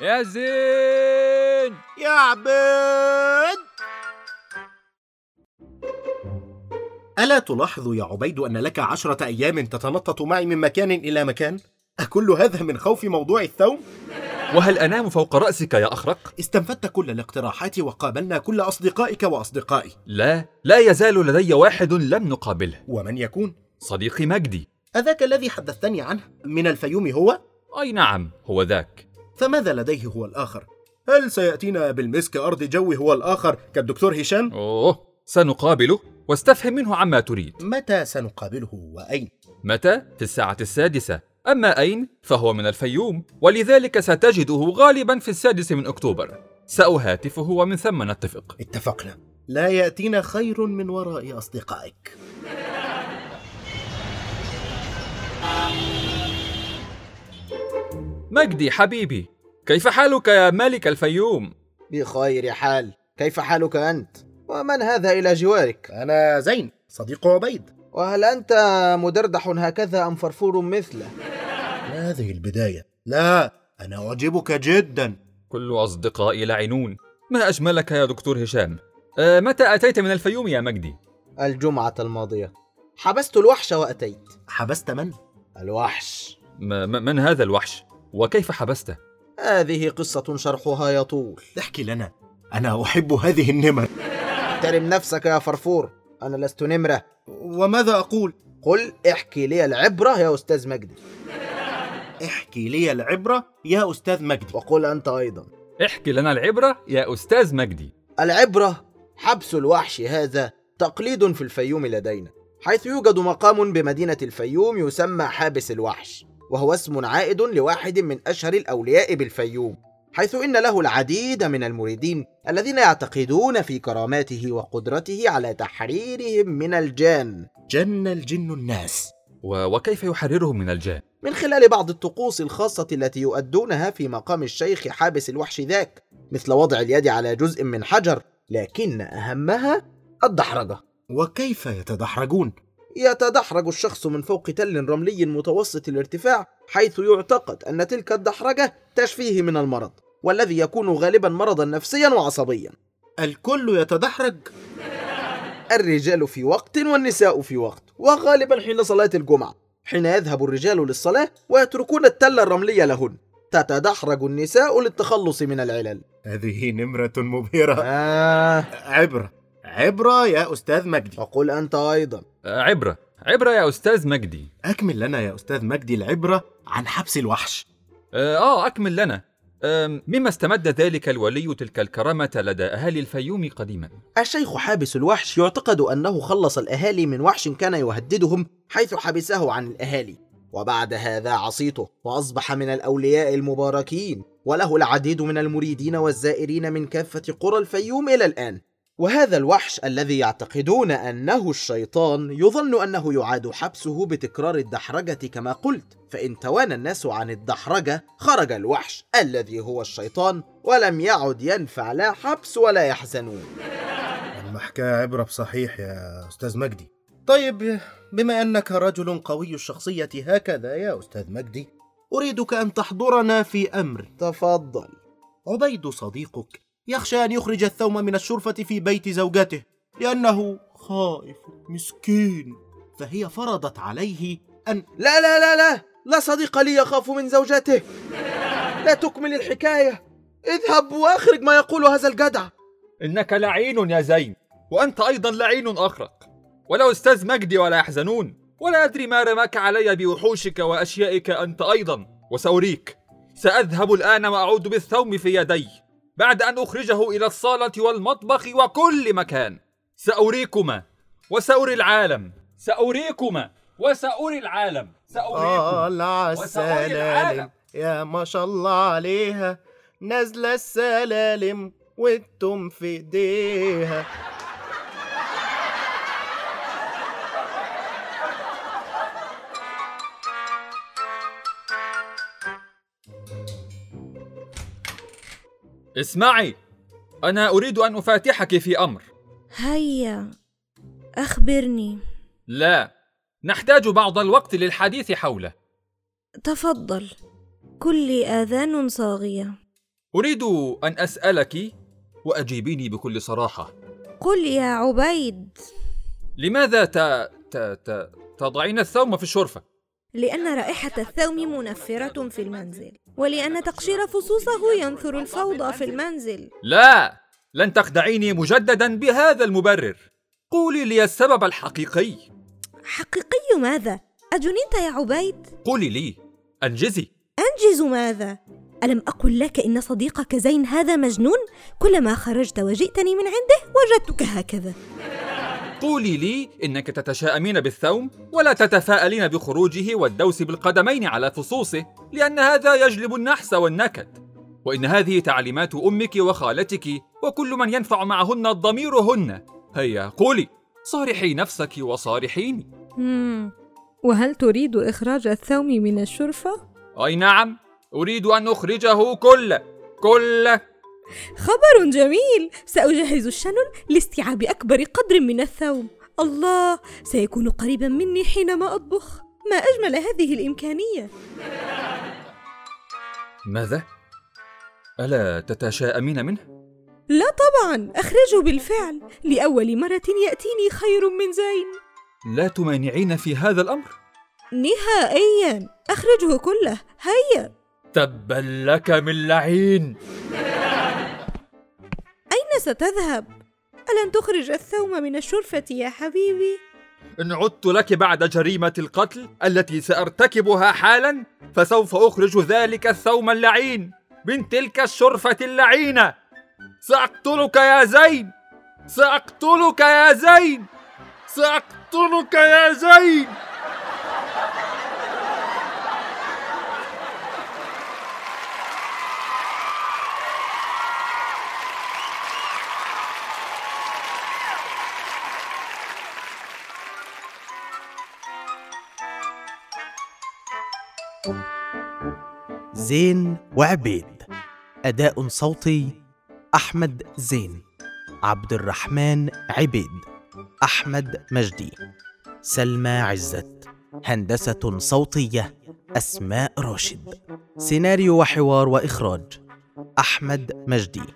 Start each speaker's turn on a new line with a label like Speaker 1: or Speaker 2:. Speaker 1: يا زين
Speaker 2: يا عبيد ألا تلاحظ يا عبيد أن لك عشرة أيام تتنطط معي من مكان إلى مكان؟ أكل هذا من خوف موضوع الثوم؟
Speaker 1: وهل أنام فوق رأسك يا أخرق؟
Speaker 2: استنفدت كل الاقتراحات وقابلنا كل أصدقائك وأصدقائي
Speaker 1: لا لا يزال لدي واحد لم نقابله
Speaker 2: ومن يكون؟
Speaker 1: صديقي مجدي
Speaker 2: أذاك الذي حدثتني عنه من الفيوم هو؟
Speaker 1: أي نعم هو ذاك
Speaker 2: فماذا لديه هو الآخر؟ هل سيأتينا بالمسك أرض جوي هو الآخر كالدكتور هشام؟
Speaker 1: أوه سنقابله واستفهم منه عما تريد
Speaker 2: متى سنقابله وأين؟
Speaker 1: متى؟ في الساعة السادسة أما أين؟ فهو من الفيوم ولذلك ستجده غالبا في السادس من أكتوبر سأهاتفه ومن ثم نتفق
Speaker 2: اتفقنا لا يأتينا خير من وراء أصدقائك
Speaker 1: مجدي حبيبي كيف حالك يا ملك الفيوم؟
Speaker 3: بخير حال كيف حالك أنت؟ ومن هذا إلى جوارك؟
Speaker 2: أنا زين صديق عبيد
Speaker 3: وهل أنت مدردح هكذا أم فرفور مثله؟
Speaker 2: ما هذه البداية؟ لا أنا أعجبك جدا
Speaker 1: كل أصدقائي لعنون ما أجملك يا دكتور هشام أه متى أتيت من الفيوم يا مجدي؟
Speaker 3: الجمعة الماضية حبست الوحش وأتيت
Speaker 2: حبست من؟
Speaker 3: الوحش
Speaker 1: م- م- من هذا الوحش؟ وكيف حبسته؟
Speaker 3: هذه قصة شرحها يطول
Speaker 2: احكي لنا أنا أحب هذه النمر
Speaker 3: احترم نفسك يا فرفور أنا لست نمرة
Speaker 2: وماذا أقول؟
Speaker 3: قل احكي لي العبرة يا أستاذ مجدي
Speaker 2: احكي لي العبرة يا أستاذ مجدي
Speaker 3: وقل أنت أيضا
Speaker 1: احكي لنا العبرة يا أستاذ مجدي
Speaker 3: العبرة حبس الوحش هذا تقليد في الفيوم لدينا حيث يوجد مقام بمدينة الفيوم يسمى حابس الوحش وهو اسم عائد لواحد من أشهر الأولياء بالفيوم حيث إن له العديد من المريدين الذين يعتقدون في كراماته وقدرته على تحريرهم من الجان
Speaker 2: جن الجن الناس
Speaker 1: و- وكيف يحررهم من الجان؟
Speaker 3: من خلال بعض الطقوس الخاصة التي يؤدونها في مقام الشيخ حابس الوحش ذاك مثل وضع اليد على جزء من حجر لكن أهمها الدحرجة
Speaker 2: وكيف يتدحرجون؟
Speaker 3: يتدحرج الشخص من فوق تل رملي متوسط الارتفاع حيث يعتقد أن تلك الدحرجة تشفيه من المرض والذي يكون غالبا مرضا نفسيا وعصبيا
Speaker 2: الكل يتدحرج
Speaker 3: الرجال في وقت والنساء في وقت وغالبا حين صلاة الجمعة حين يذهب الرجال للصلاة ويتركون التل الرملي لهن تتدحرج النساء للتخلص من العلل
Speaker 2: هذه نمرة مبهرة
Speaker 3: آه
Speaker 2: عبرة عبرة يا أستاذ مجدي
Speaker 3: وقل أنت أيضا
Speaker 1: أه، عبرة عبرة يا أستاذ مجدي
Speaker 2: أكمل لنا يا أستاذ مجدي العبرة عن حبس الوحش
Speaker 1: آه, آه أكمل لنا آم، مما استمد ذلك الولي تلك الكرامة لدى أهالي الفيوم قديما
Speaker 3: الشيخ حابس الوحش يعتقد أنه خلص الأهالي من وحش كان يهددهم حيث حبسه عن الأهالي وبعد هذا عصيته وأصبح من الأولياء المباركين وله العديد من المريدين والزائرين من كافة قرى الفيوم إلى الآن وهذا الوحش الذي يعتقدون أنه الشيطان يظن أنه يعاد حبسه بتكرار الدحرجة كما قلت فإن توانى الناس عن الدحرجة خرج الوحش الذي هو الشيطان ولم يعد ينفع لا حبس ولا يحزنون
Speaker 2: المحكاة عبرة بصحيح يا أستاذ مجدي طيب بما أنك رجل قوي الشخصية هكذا يا أستاذ مجدي أريدك أن تحضرنا في أمر
Speaker 3: تفضل
Speaker 2: عبيد صديقك يخشى أن يخرج الثوم من الشرفة في بيت زوجته لأنه خائف مسكين فهي فرضت عليه أن
Speaker 3: لا لا لا لا لا صديق لي يخاف من زوجته لا تكمل الحكاية اذهب واخرج ما يقول هذا الجدع
Speaker 1: إنك لعين يا زين وأنت أيضا لعين أخرق ولا أستاذ مجدي ولا يحزنون ولا أدري ما رماك علي بوحوشك وأشيائك أنت أيضا وسأريك سأذهب الآن وأعود بالثوم في يدي بعد أن أخرجه إلى الصالة والمطبخ وكل مكان سأريكما وسأري العالم سأريكما وسأري العالم سأريكما
Speaker 2: طالع
Speaker 1: وسأري العالم.
Speaker 2: السلالم آه، يا ما شاء الله عليها نازلة السلالم والتم في ايديها
Speaker 1: اسمعي أنا أريد أن أفاتحك في أمر
Speaker 4: هيا أخبرني
Speaker 1: لا نحتاج بعض الوقت للحديث حوله
Speaker 4: تفضل كلي آذان صاغية
Speaker 1: اريد ان اسالك واجيبيني بكل صراحه
Speaker 4: قل يا عبيد
Speaker 1: لماذا ت... ت... ت... تضعين الثوم في الشرفه
Speaker 4: لأن رائحة الثوم منفرة في المنزل ولأن تقشير فصوصه ينثر الفوضى في المنزل
Speaker 1: لا لن تخدعيني مجددا بهذا المبرر قولي لي السبب الحقيقي
Speaker 4: حقيقي ماذا؟ أجننت يا عبيد؟
Speaker 1: قولي لي انجزي
Speaker 4: أنجز ماذا؟ ألم أقل لك إن صديقك زين هذا مجنون؟ كلما خرجت وجئتني من عنده وجدتك هكذا
Speaker 1: قولي لي انك تتشائمين بالثوم ولا تتفائلين بخروجه والدوس بالقدمين على فصوصه لان هذا يجلب النحس والنكد وان هذه تعليمات امك وخالتك وكل من ينفع معهن الضمير هن هيا قولي صارحي نفسك وصارحيني
Speaker 5: مم. وهل تريد إخراج الثوم من الشرفة؟
Speaker 1: اي نعم اريد ان اخرجه كله كله
Speaker 4: خبر جميل سأجهز الشنن لاستيعاب أكبر قدر من الثوم الله سيكون قريبا مني حينما أطبخ ما أجمل هذه الإمكانية
Speaker 1: ماذا الا تتشائمين منه
Speaker 4: لا طبعا أخرجه بالفعل لأول مرة يأتيني خير من زين
Speaker 1: لا تمانعين في هذا الامر
Speaker 4: نهائيا أخرجه كله هيا
Speaker 1: تبا لك من لعين
Speaker 4: أين ستذهب؟ ألن تخرج الثوم من الشرفة يا حبيبي؟
Speaker 1: إن عدت لك بعد جريمة القتل التي سأرتكبها حالا فسوف أخرج ذلك الثوم اللعين من تلك الشرفة اللعينة سأقتلك يا زين سأقتلك يا زين سأقتلك يا زين
Speaker 6: زين وعبيد أداء صوتي أحمد زين عبد الرحمن عبيد أحمد مجدي سلمى عزت هندسة صوتية أسماء راشد سيناريو وحوار وإخراج أحمد مجدي